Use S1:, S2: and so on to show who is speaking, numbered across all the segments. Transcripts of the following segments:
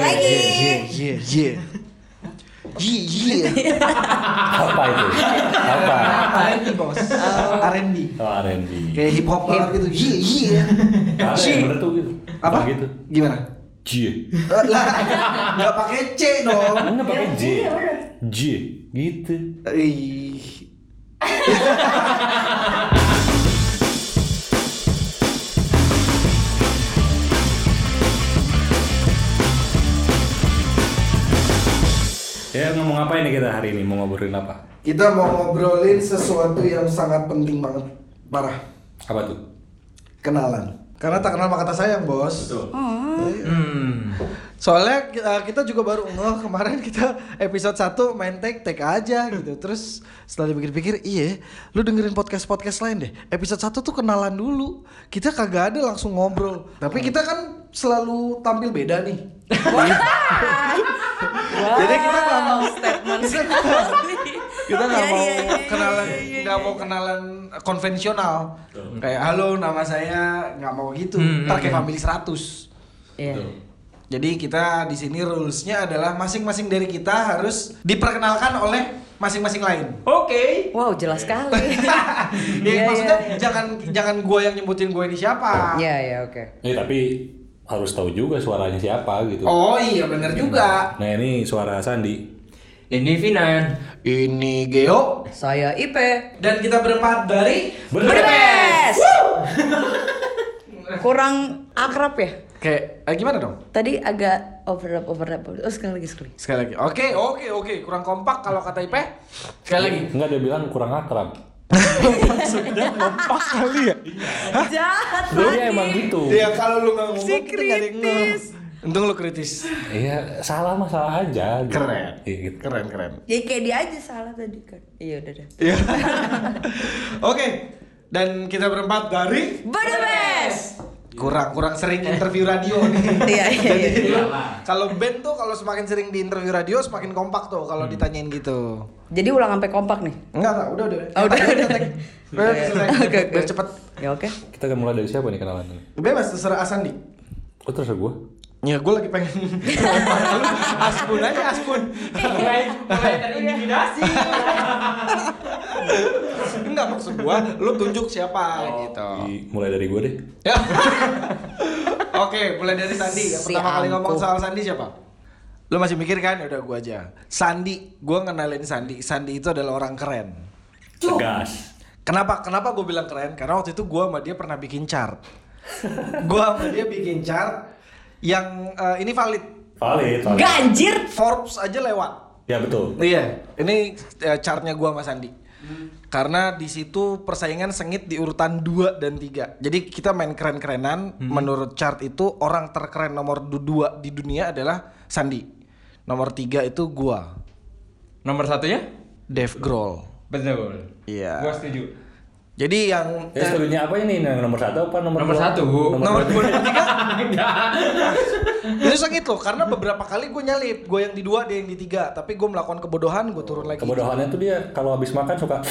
S1: yeah yeah yeah yeah yeah
S2: Apa itu? Apa?
S3: R&B bos R&B
S2: Oh, R&B.
S1: kayak hip hop banget gitu yeah yeah
S2: Apa yang bener tuh gitu?
S1: apa
S2: Gitu.
S1: gimana
S2: J.
S1: Eh, lah nggak pakai c dong
S2: Enggak Kan pakai J.
S4: iya, bener.
S2: J. Gitu.
S1: Ih.
S2: Ya ngomong apa ini kita hari ini? Mau ngobrolin apa?
S1: kita mau ngobrolin sesuatu yang sangat penting banget parah
S2: Apa tuh?
S1: kenalan karena tak kenal maka tak sayang bos
S2: Betul.
S3: Hmm
S1: soalnya eh, kita juga baru ngeh kemarin kita episode 1 main tek tek aja gitu terus setelah dipikir-pikir iya lu dengerin podcast podcast lain deh episode 1 tuh kenalan dulu kita kagak ada langsung ngobrol tapi kita kan selalu tampil beda nih Jadi kita nggak mau-
S4: statement
S1: Kita- kita nggak mau kenalan nggak mau kenalan konvensional kayak halo nama saya nggak mau gitu
S3: Hmm,
S1: Ntar kayak
S3: hmm.
S1: family 100
S4: Iya.
S2: Betul.
S1: Jadi kita di sini rulesnya adalah masing-masing dari kita harus diperkenalkan oleh masing-masing lain.
S3: Oke
S4: Wow, jelas sekali.
S1: Ya,
S4: Iya,
S1: maksudnya
S4: iya, iya.
S1: jangan jangan gua yang nyebutin gua ini siapa.
S4: Iya, iya, oke.
S2: Eh tapi harus tahu juga suaranya siapa gitu.
S1: Oh iya bener juga.
S2: Nah ini suara Sandi.
S3: Ini Finan
S1: Ini Geo
S4: Saya Ipe.
S1: dan kita berempat dari
S4: Berbes. Kurang akrab ya?
S1: Kayak eh, gimana dong?
S4: Tadi agak overlap overlap. Oh, sekali lagi sekali.
S1: Sekali lagi. Oke, oke, oke. Kurang kompak kalau kata Ipe. Sekali lagi.
S2: Enggak dia bilang kurang akrab.
S1: Sudah kompak kali ya.
S4: Jahat
S2: Dia emang gitu.
S1: Iya, kalau lu nggak ngomong
S4: Si
S1: kita nggak ada yang ngeh.
S4: kritis.
S1: Untung lu kritis.
S2: Iya, salah masalah aja. gitu.
S1: Keren.
S2: Iya, gitu.
S1: Keren, keren.
S4: Ya kayak dia aja salah tadi kan. Iya, udah dah.
S1: Iya. Oke. Dan kita berempat dari
S4: Berbes.
S1: kurang kurang sering interview radio nih.
S4: Iya, iya, iya.
S1: Jadi kalau band tuh kalau semakin sering di interview radio semakin kompak tuh kalau ditanyain gitu.
S4: Jadi ulang sampai kompak nih.
S1: Enggak enggak, udah udah.
S4: Oh, udah, udah.
S1: Tek. Udah, selesai.
S4: Oke, oke.
S1: Biar cepet.
S4: Ya oke.
S2: Kita akan mulai dari siapa nih kenalan ini?
S1: Bebas terserah Asandi.
S2: Oh terus gue?
S1: Ya gue lagi pengen Lu Aspun aja Aspun
S3: Mulai mulai terintimidasi
S1: Enggak maksud gue Lu tunjuk siapa
S3: Oh.
S1: gitu
S2: Mulai dari gue deh.
S1: Ya. Oke, mulai dari Sandi. Yang
S4: Si
S1: pertama kali
S4: ampun.
S1: ngomong soal Sandi siapa? Lo masih mikir kan? Udah gua aja. Sandi, gua ngenalin Sandi. Sandi itu adalah orang keren.
S2: Tegas.
S1: Kenapa? Kenapa gue bilang keren? Karena waktu itu gua sama dia pernah bikin chart. gua sama dia bikin chart yang eh, ini valid.
S2: Valid. valid.
S4: Ganjir.
S1: Forbes aja lewat.
S2: Ya betul.
S1: Iya, ini eh, chartnya gua sama Sandi.
S2: Hmm.
S1: Karena di situ persaingan sengit di urutan 2 dan 3. Jadi kita main keren-kerenan,
S2: Hmm.
S1: menurut chart itu orang terkeren nomor 2 di dunia adalah Sandi. Nomor 3 itu gua,
S3: Nomor satunya
S1: Dave Grohl.
S3: Betul
S1: Iya.
S3: Gua setuju
S1: Jadi yang
S2: Ya setujunya apa ini? Yang Nomor satu apa nomor?
S3: Nomor
S2: dua?
S3: satu.
S1: nomor
S2: Nomor dua.
S1: 2 dan 3
S3: Enggak
S1: itu sengit loh karena beberapa kali gue nyalip, gue yang di 2, dia yang di 3, tapi gue melakukan kebodohan, gue turun lagi.
S2: Kebodohannya tuh dia kalau habis makan suka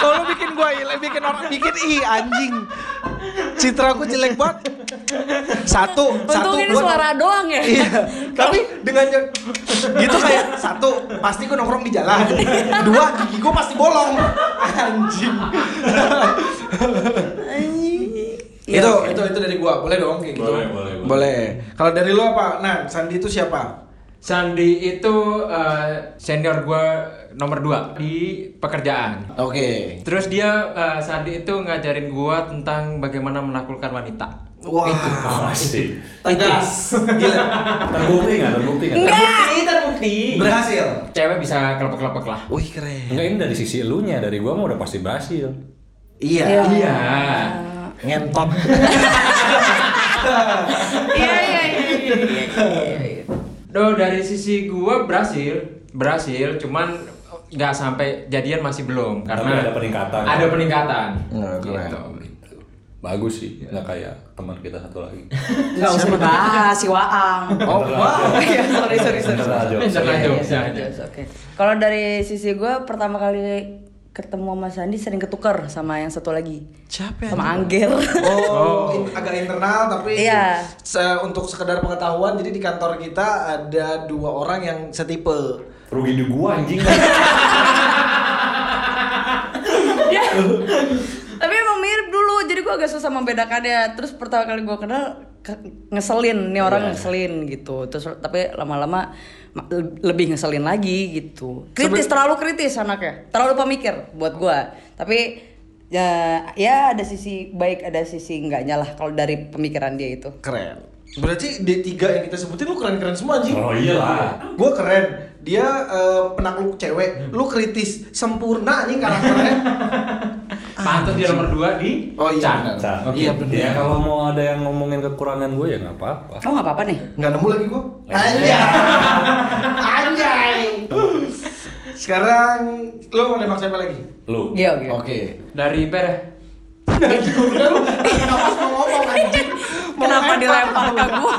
S1: Kalau bikin gua ilek, bikin orang bikin ih anjing. Citra aku jelek banget. Satu, satu
S4: Untung ini
S1: gua-
S4: suara doang ya.
S1: Iya, tapi dengan je- gitu kayak satu pasti gua nongkrong di jalan, dua gigi gua pasti bolong, anjing.
S4: Iya,
S1: itu
S4: oke.
S1: itu itu dari gua, boleh dong kayak gitu.
S2: Boleh, boleh, boleh.
S1: Boleh. Kalau dari lu apa? Nah, Sandi itu siapa?
S3: Sandi itu eh, senior gue nomor 2 di pekerjaan.
S1: Oke.
S3: Terus dia eh, Sandi itu ngajarin gue tentang bagaimana menaklukkan wanita.
S1: Wah.
S2: Masih.
S1: Tegas. Gila.
S2: Terbukti nggak? Terbukti nggak?
S4: Enggak.
S3: Ini terbukti.
S1: Berhasil.
S3: Cewek bisa kelepek-kelepek lah.
S1: Wih keren.
S2: Enggak ini dari sisi elunya, dari gua mah udah pasti berhasil.
S4: Iya.
S1: Iya.
S3: Iya.
S1: Ngentot.
S4: Iya, iya, iya, iya, iya, iya, iya.
S3: Do dari sisi gue berhasil, berhasil. Cuman nggak sampai jadian masih belum
S2: Tapi
S3: karena
S2: ada peningkatan.
S3: Ada peningkatan.
S1: Nah, keren.
S3: Gitu.
S2: Bagus sih. Nggak kayak teman kita satu lagi.
S4: Enggak usah dibahas si Waang.
S1: Oh, wow.
S4: Iya, sorry, sorry, sorry.
S2: Internal jokes.
S3: Internal
S4: Iya,
S3: jokes.
S4: iya, iya, oke. Kalau dari sisi gue pertama kali
S5: ketemu sama Sandi sering ketukar sama yang satu lagi.
S1: Siapa
S5: Sama
S1: anjing?
S5: Angger.
S1: Oh, in- agak
S4: Oh,
S1: internal tapi
S5: Iya.
S1: se- untuk sekedar pengetahuan jadi di kantor kita ada dua orang yang setipe.
S2: Rugi di gua anjing.
S5: Dia- Ya. Tapi emang mirip dulu, jadi gue agak susah membedakannya. Terus pertama kali gue kenal ke- ngeselin, nih orang ngeselin gitu. Terus tapi lama-lama ma- le- lebih ngeselin lagi gitu. Kritis, terlalu kritis anaknya, terlalu pemikir buat gue. Tapi ya, ya ada sisi baik, ada sisi enggaknya lah kalau dari pemikiran dia itu.
S1: Keren. Berarti D3 yang kita sebutin lu keren-keren semua anjing.
S2: Oh iyalah.
S1: Gue keren. Dia eh, penakluk cewek, lu kritis, sempurna anjing karakternya.
S3: Pantas dia nomor 2 di
S1: Ah, Oh iya,
S3: Chan.
S1: benar.
S2: Nah,
S1: Iya, bener.
S2: Ya kalau mau ada yang ngomongin kekurangan gue ya nggak apa-apa.
S5: Oh nggak apa-apa nih.
S1: Nggak nemu lagi gua. Anjay. Anjay. Sekarang lu mau nembak siapa lagi?
S2: Lu.
S5: Iya oke.
S3: Dari ya? Per.
S1: Udah lu, kenapa mau ngomong anjing? Mau
S5: Kenapa
S1: lempar
S5: dilempar
S1: kamu?
S5: ke gue?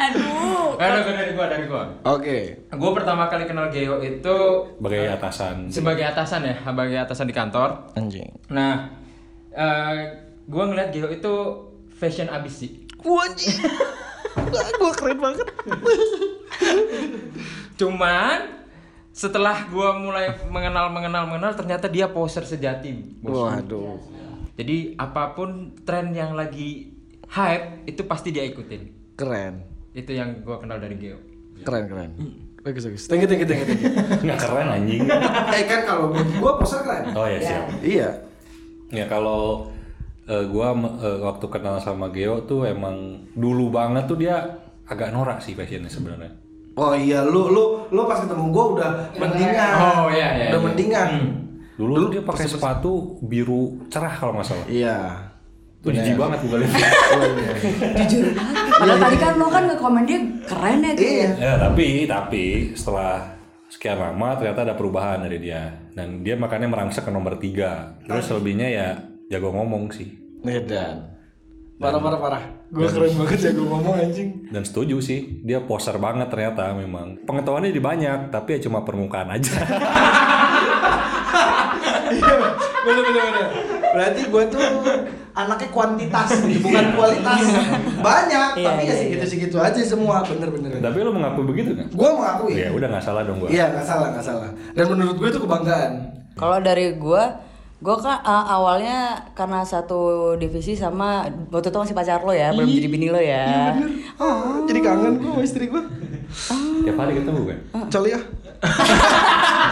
S5: Aduh.
S3: Eh, udah, dari gua, dari gua.
S1: Oke.
S3: Gue pertama kali kenal Geo itu eh,
S2: Sebagai atasan.
S3: sebagai atasan ya, sebagai atasan di kantor.
S1: Anjing.
S3: Nah, eh gue ngeliat Geo itu fashion abis sih.
S1: Gua anjing. Wah, gua keren banget.
S3: Cuman setelah gue mulai mengenal mengenal mengenal ternyata dia poser sejati. bos.
S1: Waduh.
S3: Jadi apapun tren yang lagi hype itu pasti dia ikutin.
S1: Keren.
S3: Itu yang gue kenal dari Geo.
S1: Keren keren. Bagus bagus. Thank you thank you thank you. thank you.
S2: Nggak keren anjing.
S1: Eh kan kalau gua poster keren.
S2: Oh ya siap.
S1: Iya.
S2: Ya kalau eh, gua me- eh, waktu kenal sama Geo tuh emang dulu banget tuh dia agak norak sih fashionnya sebenarnya.
S1: Oh iya, lu lu lu pas ketemu gua udah mendingan.
S3: Oh, iya, iya,
S1: Udah
S3: iya.
S1: mendingan.
S2: Dulu, tuh dia pakai sepatu biru cerah kalau nggak salah. Iya.
S1: Iya.
S2: Itu jijik banget gue lihat.
S5: Jujur. Padahal tadi kan lo kan nge-komen dia keren ya gitu.
S1: Iya.
S2: ya, tapi tapi setelah sekian lama ternyata ada perubahan dari dia dan dia makanya merangsek ke nomor tiga. Terus selebihnya ya jago ngomong sih
S1: Medan. Parah parah parah. Gua keren banget ya gua ngomong anjing.
S2: dan setuju sih dia poser banget ternyata memang pengetahuannya di banyak tapi ya cuma permukaan aja
S1: Iya, bener bener bener. Berarti gua tuh anaknya kuantitas nih, bukan kualitas. Banyak,
S5: Iya,
S1: tapi ya
S5: iya,
S1: segitu-segitu aja semua. Bener bener.
S2: tapi lu mengakui begitu kan?
S1: Gua mengakui.
S2: Ya udah nggak salah dong gua.
S1: Iya, nggak salah nggak salah. Dan menurut gue itu kebanggaan.
S5: Kalau dari gua, gua kan eh, awalnya karena satu divisi sama waktu itu masih pacar lo ya, belum jadi bini lo ya.
S3: Oh.
S1: Ah, jadi kangen gua sama istri gua.
S2: Tiap hari ketemu kan?
S3: Oh.
S1: Coli ah.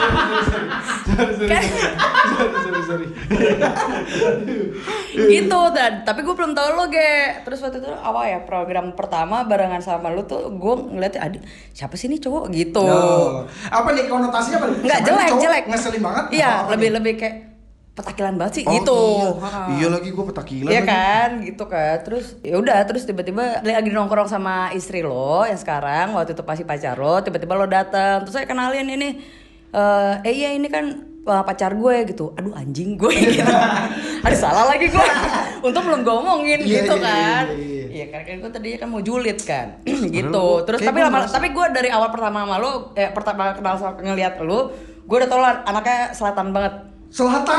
S1: sorry, sorry,
S5: Kan
S1: sorry, sorry, sorry, sorry.
S5: gitu dan tapi gue belum tahu lo ge terus waktu itu awal ya program pertama barengan sama lo tuh gue ngeliat aduh siapa sih ini cowok gitu
S1: No. Ya. Apa nih konotasinya apa? nih?
S5: nggak
S1: Sama ini
S5: jelek
S1: cowok
S5: jelek
S1: Ngeselin banget.
S5: iya
S1: Apa
S5: lebih
S1: nih?
S5: lebih kayak petakilan banget sih
S1: Oh,
S5: gitu
S1: Iya,
S5: Ha-ha.
S1: Iya lagi gue petakilan.
S5: Iya
S1: lagi.
S5: kan, gitu kan. Terus ya udah, terus tiba-tiba lagi nongkrong sama istri lo yang sekarang waktu itu pasti pacar lo, tiba-tiba lo datang. Terus saya kenalin ini eh eh iya ini kan eh, pacar gue gitu. Aduh anjing gue gitu. Aduh salah lagi gue. Untung belum gue omongin
S1: Iya,
S5: gitu
S1: iya,
S5: kan.
S1: iya, iya,
S5: Iya kan kan gue tadinya kan mau julid kan. gitu.
S1: Padahal gua-
S5: Terus
S1: kayak
S5: tapi
S1: gua
S5: lama
S1: merasa-
S5: tapi gue dari awal pertama sama lo eh pertama kenal sama ngelihat lo, gue udah tau lah anaknya selatan banget.
S1: Selatan.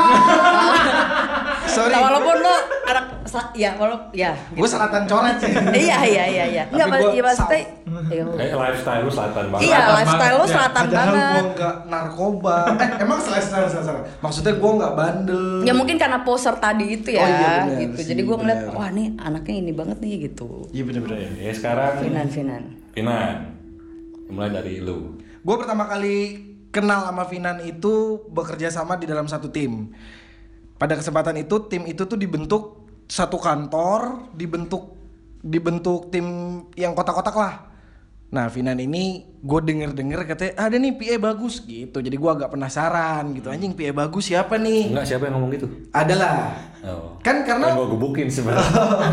S1: Sorry.
S5: Nah, walaupun lo anak sel- ya walaupun ya
S1: Gue selatan coret sih.
S5: iya iya iya iya nggak
S1: Tapi
S5: mas
S1: gua
S5: iya maksudnya iya.
S2: Eh lifestyle lu selatan banget.
S5: iya
S3: banget.
S5: lifestyle lo
S3: Ya,
S5: selatan
S1: Padahal gue
S5: banget
S1: nggak narkoba. Eh emang selatan selatan selatan. Maksudnya gue nggak bandel.
S5: ya mungkin karena poser tadi itu ya
S1: Oh, iya, benar
S5: gitu
S1: sih,
S5: jadi gue ngeliat
S1: benar.
S5: wah nih anaknya ini banget nih gitu
S1: Iya bener-bener ya.
S2: Ya sekarang
S5: Finan Finan
S2: Finan. Mulai dari lu.
S1: Gue pertama kali kenal sama Finan itu bekerja sama di dalam satu tim. Pada kesempatan itu tim itu tuh dibentuk satu kantor, dibentuk dibentuk tim yang kotak-kotak lah. Nah Finan ini gue denger-denger katanya ada nih PA bagus gitu. Jadi gue agak penasaran gitu anjing PA bagus siapa nih?
S2: Enggak siapa yang ngomong gitu?
S1: Adalah.
S2: Oh.
S1: Kan
S2: Kan
S1: karena
S2: gua gebukin sebenarnya.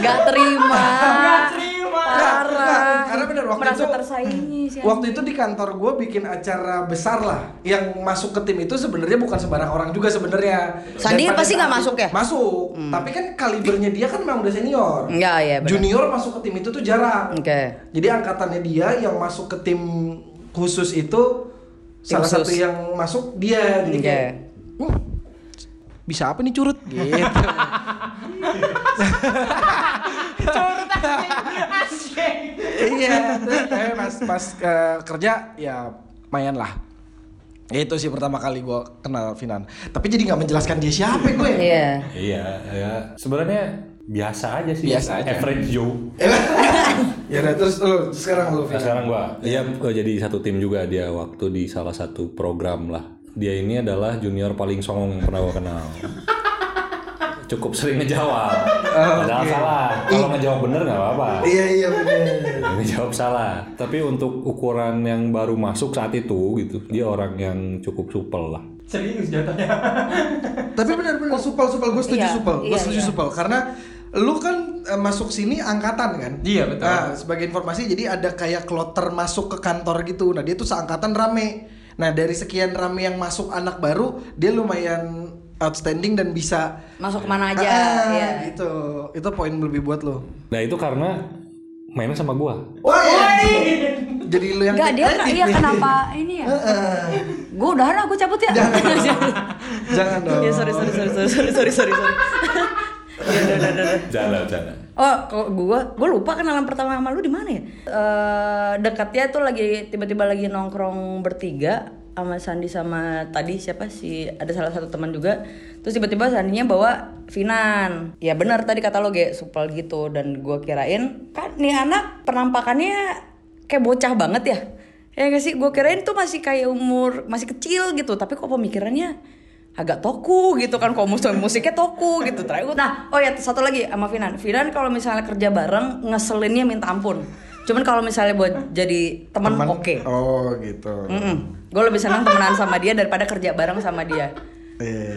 S5: nggak terima nggak terima
S1: Nggak, nggak.
S5: parah
S1: Karena bener, waktu
S5: merasa
S1: itu-
S5: tersaingi sih
S1: Waktu itu di kantor gue bikin acara besar lah, yang masuk ke tim itu sebenarnya bukan sembarang orang juga sebenarnya.
S5: Sandi
S1: Dan pada
S5: pasti nggak
S1: saat
S5: masuk
S1: itu-
S5: ya?
S1: Masuk, tapi kan kalibernya dia kan memang udah senior.
S5: Nggak, iya, benar.
S1: Junior masuk ke tim itu tuh jarang.
S5: oke
S1: Jadi angkatannya dia yang masuk ke tim khusus itu salah
S5: khusus.
S1: satu yang masuk dia jadi kayak
S5: Iya.
S1: "Hmm, bisa apa nih curut gitu iya terus eh, pas pas eh, kerja ya main lah itu sih pertama kali gua kenal Finan tapi jadi nggak menjelaskan dia siapa gue
S5: Iya.
S2: Iya, ya. Sebenarnya biasa aja sih.
S1: Biasa aja.
S2: Average Joe.
S1: ya udah, terus lu sekarang lu
S2: Nah,
S1: Finan
S2: sekarang gua dia eh, jadi satu tim juga dia waktu di salah satu program lah. Dia ini adalah junior paling songong yang pernah gua kenal. Cukup sering ngejawab.
S1: Oh,
S2: Padahal salah. Kalau ngejawab bener nggak apa-apa.
S1: iya iya bener
S2: Ngejawab salah. Tapi untuk ukuran yang baru masuk saat itu gitu, dia orang yang cukup supel lah.
S3: Serius jatuhnya.
S1: tapi bener bener supel supel gue setuju
S5: Iya,
S1: supel gue
S5: iya,
S1: setuju
S5: iya.
S1: supel karena lu kan eh, masuk sini angkatan kan
S3: Iya, betul.
S1: Nah, sebagai informasi jadi ada kayak kloter masuk ke kantor gitu nah dia tuh seangkatan rame nah dari sekian rame yang masuk anak baru dia lumayan outstanding dan bisa
S5: Masuk kemana aja.
S1: Ah,
S5: Iya.
S1: gitu itu poin lebih buat lo
S2: Nah itu karena mainnya sama gua.
S1: jadi lu yang
S5: Enggak dia
S1: kredit
S5: iya
S1: nih.
S5: kenapa ini ya? Gue udah lah, gue cabut ya.
S1: jangan dong
S5: Ya sorry sorry sorry sorry sorry sorry sorry. sorry. Ya udah udah udah, udah.
S2: Jalan jalan.
S5: Oh, kalau gue, gue lupa kenalan pertama sama lu di mana ya? Eh, dekatnya tuh lagi tiba-tiba lagi nongkrong bertiga sama Sandi sama tadi siapa sih ada salah satu teman juga terus tiba-tiba Sandinya bawa Finan ya benar tadi kata lo kayak supel gitu dan gue kirain kan nih anak penampakannya kayak bocah banget ya ya gak sih gue kirain tuh masih kayak umur masih kecil gitu tapi kok pemikirannya agak toku gitu kan kalau musik musiknya toku gitu terakhir gua- nah oh ya satu lagi sama Finan Finan kalau misalnya kerja bareng ngeselinnya minta ampun cuman kalau misalnya buat jadi teman
S1: Temen-
S5: oke
S1: oh gitu
S5: gue lebih senang temenan sama dia daripada kerja bareng sama dia
S1: Eh.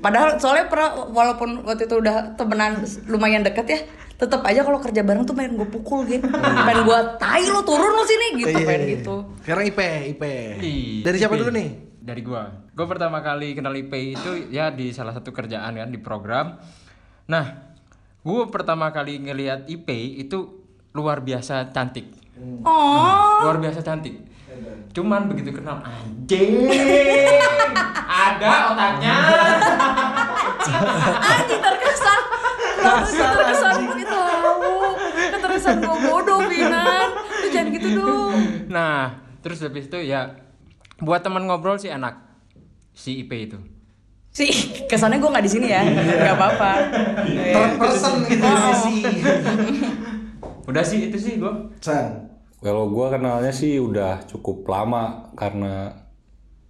S5: padahal soalnya pernah walaupun waktu itu udah temenan lumayan deket ya tetap aja kalau kerja bareng tuh pengen gue pukul gitu pengen gue tai lo turun lo sini gitu
S1: Hmm. Iya,
S5: pengen
S1: iya, iya.
S5: gitu
S1: Sekarang IP, IP. Dari siapa
S3: IP.
S1: dulu nih?
S3: Dari gua. Gua pertama kali kenal IP itu ya di salah satu kerjaan kan di program. Nah, gua pertama kali ngelihat IP itu luar biasa cantik.
S5: oh
S3: Luar biasa cantik. Cuman begitu kenal anjing. Ada otaknya.
S5: anjing terkesan terkesan terkesan itu tahu keterusan gue bodoh Finan lu jangan gitu dong
S3: Nah, terus habis itu ya buat teman ngobrol sih enak. Si IP itu.
S5: sih kesannya gue nggak di sini ya nggak apa-apa
S1: Third Eh, person gitu sih.
S3: Udah sih itu sih gua.
S1: San.
S2: Kalau gua kenalnya sih udah cukup lama karena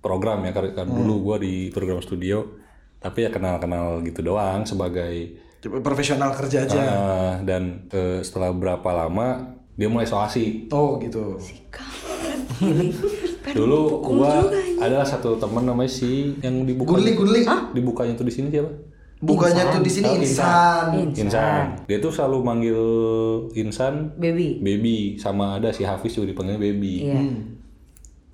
S2: program ya karena dulu gua di program studio tapi ya kenal-kenal gitu doang sebagai
S1: Coba profesional kerja aja.
S2: eh, dan eh, setelah berapa lama dia mulai soasi.
S1: Oh gitu.
S2: Dulu gua adalah satu temen namanya si yang dibuka
S1: Guli, Guli.
S2: dibukanya tuh di sini siapa?
S1: Bukannya tuh di sini
S2: Oh,
S1: insan.
S2: Insan. Dia tuh selalu manggil Insan
S5: baby
S2: baby sama ada si Hafiz juga dipanggil baby.
S5: iya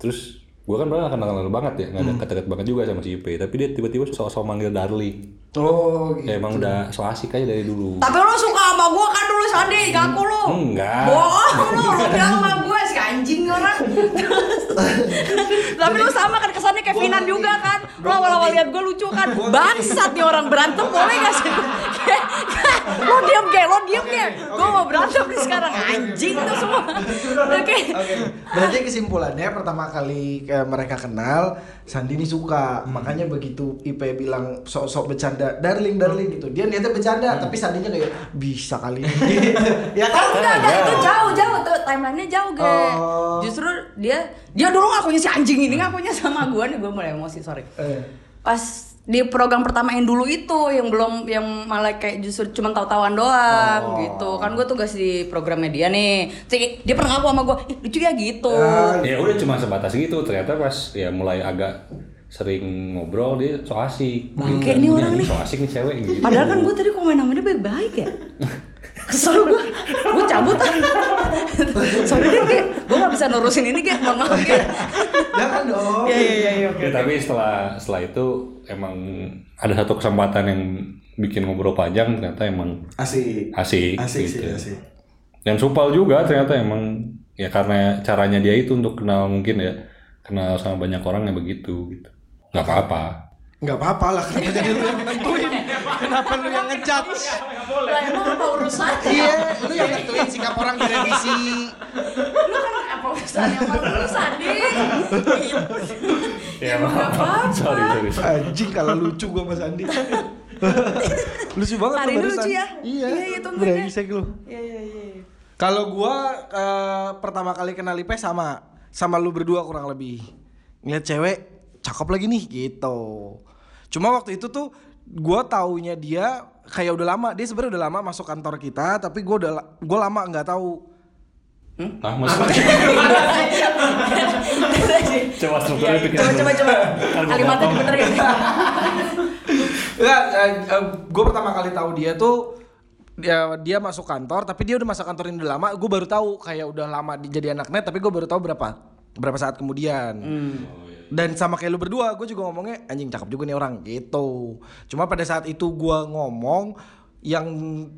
S2: Terus gue kan pernah kenal kenal banget ya, nggak ada
S5: Hmm.
S2: deket banget juga sama si IP. Tapi dia tiba-tiba sok-sok manggil Darling.
S1: Oh gitu.
S2: Ya, emang udah so asik aja dari dulu.
S5: tapi lu suka sama gue kan dulu Sandi
S1: Hmm.
S5: ngaku lu
S2: Enggak.
S5: bohong lu lu bilang sama gue si anjing orang tapi lu sama kan kesannya kayak Finan juga kan lu awal-awal liat gue lucu kan bangsat nih orang berantem boleh gak sih lo diam kayak lo diam ya gue mau berantem nih sekarang anjing tuh semua oke
S1: Oke. Berarti kesimpulannya pertama kali eh, mereka kenal Sandi ini suka. Makanya begitu IP bilang sok-sok bercanda, darling darling gitu. Dia niatnya bercanda, tapi Sandinya kayak bisa kali ini. gitu. ya kan?
S5: Enggak, enggak, itu jauh, jauh tuh timelinenya jauh, ge.
S1: Oh.
S5: Justru dia dia dulu ngakunya si anjing ini ngakunya sama gue nih, gue mulai emosi, sorry.
S1: Eh.
S5: Pas di program pertama yang dulu itu yang belum yang malah kayak justru cuma tahu-tahuan doang gitu. Kan gue tugas di programnya dia nih. Terus kayak, dia pernah ngaku sama gue, "Ih, lucu ya gitu."
S2: Ya udah cuma sebatas gitu. Ternyata pas ya mulai agak sering ngobrol dia so asik. Hmm.
S5: Bangke nih orang nih.
S2: So asik nih cewek gitu.
S5: Padahal kan gue tadi komen sama dia baik-baik ya. Kesel gue, gue cabut Sorry deh, gue gak bisa nurusin ini, Ge, mohon maaf, Ge.
S1: Jangan dong.
S5: Iya, iya, iya, iya, oke.
S2: Ya, tapi setelah setelah itu emang ada satu kesempatan yang bikin ngobrol panjang ternyata emang
S1: Asik.
S2: asik,
S1: Asik
S2: gitu.
S1: sih, asik.
S2: Dan supal juga ternyata emang ya karena caranya dia itu untuk kenal mungkin ya kenal sama banyak orang yang begitu gitu nggak apa-apa
S1: Gak apa-apa lah, kenapa jadi lu yang nentuin? Kenapa lu yang ngejudge?
S5: Lah emang apa urusannya?
S1: Iya, lu yang nentuin sikap orang di revisi.
S5: Lu kan apa urusannya sama urusan ding? Ya emang nggak apa-apa.
S2: Iya, sorry sorry
S1: Anjing kalau lucu gua Mas Andi. lucu banget
S5: Hari
S1: lu
S5: ini
S1: barusan.
S5: lucu ya?
S1: Iya,
S5: Iya, iya, tunggu ya.
S1: brengsek lu.
S5: Iya iya iya.
S1: Kalau gua eh, pertama kali kenal Ipe sama sama lu berdua kurang lebih. Ngeliat cewek cakep lagi nih gitu. Cuma waktu itu tuh gua taunya dia kayak udah lama, dia sebenarnya udah lama masuk kantor kita, tapi gua udah la- gua lama nggak tahu.
S2: nah maksudnya coba strukturnya pikirin
S5: Coba
S2: dulu.
S5: coba coba.
S2: Kan gua
S5: Kalimatnya
S2: potong.
S5: dibenerin.
S1: Enggak, gue eh, pertama kali tahu dia tuh dia, dia masuk kantor, tapi dia udah masuk kantor ini udah lama. Gue baru tahu kayak udah lama di- jadi anak net, tapi gue baru tahu berapa berapa saat kemudian. Dan sama kayak lu berdua, gue juga ngomongnya anjing cakep juga nih orang gitu. Cuma pada saat itu gue ngomong yang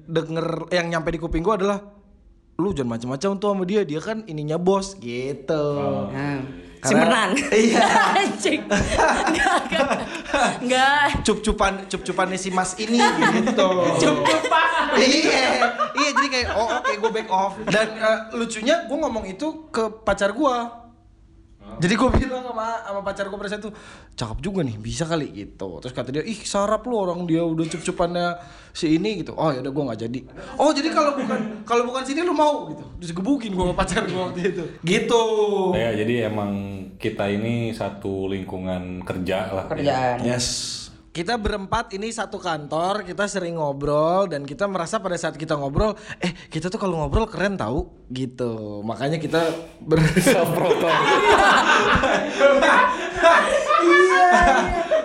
S1: denger yang nyampe di kuping gue adalah lu jangan macam-macam tuh sama dia, dia kan ininya bos gitu.
S5: Nah,
S1: Karena-
S5: Simpenan.
S1: Iya.
S5: Anjing. Enggak, enggak. Enggak.
S1: Iya, cup-cupan cup-cupannya si Mas ini gitu. Cup-cupan. iya. Iya jadi kayak oh oke gue back off. Dan eh, lucunya gue ngomong itu ke pacar gue. Jadi gue bilang sama sama pacar gue pada saat itu cakep juga nih bisa kali gitu. Terus kata dia ih sarap lu orang dia udah cup-cupannya si ini gitu. Oh ya udah gue nggak jadi. Oh jadi kalau bukan kalau bukan sini lu mau gitu. Terus gebukin gue sama pacar gue waktu itu. Gitu.
S2: ya jadi emang kita ini satu lingkungan kerja lah ya.
S5: Kerjaan.
S1: Yes. Kita berempat ini satu kantor, kita sering ngobrol dan kita merasa pada saat kita ngobrol, eh kita tuh kalau ngobrol keren tau gitu. Makanya kita ber Iya.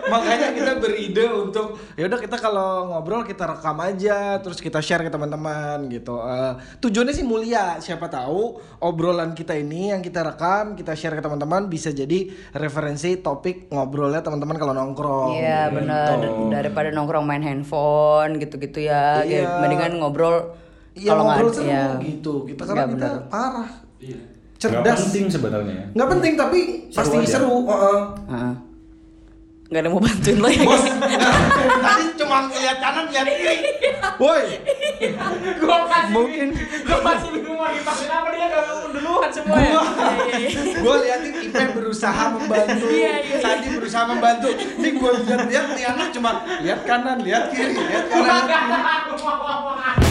S1: Makanya kita beride untuk ya udah kita kalau ngobrol kita rekam aja, terus kita share ke teman-teman gitu. Eh, tujuannya sih mulia, siapa tahu obrolan kita ini yang kita rekam, kita share ke teman-teman bisa jadi referensi topik ngobrolnya teman-teman kalau nongkrong.
S5: Iya
S1: gitu.
S5: benar daripada nongkrong main handphone gitu-gitu ya,
S1: Iya.
S5: kayak mendingan ngobrol
S1: Iya
S5: kalau nggak
S1: ngobrol
S5: ada-
S1: seru
S5: ya.
S1: gitu. Kita karena
S5: Iya,
S1: kita
S5: benar.
S1: parah. Iya.
S2: nggak
S1: Cerdas.
S2: penting sebenarnya ya.
S1: Nggak penting tapi pasti
S2: aja.
S1: seru. Oh, heeh.
S5: Heeh. Nggak ada yang mau bantuin lo ya.
S1: Bos, tadi cuma ngeliat kanan ngeliat kiri. Woi,
S5: Iya.
S4: Gua masih
S1: Mungkin.
S4: Gua masih bingung mau dipakai apa dia kalau duluan semua ya.
S1: gua
S4: Iya, iya, iya.
S1: gua liatin Ipe berusaha membantu.
S5: Iya,
S1: Tadi berusaha membantu. Ini gua lihat lihat nih anak cuma lihat kanan, lihat kiri, lihat kanan.
S4: Gua nggak tahu mau ngomong apa.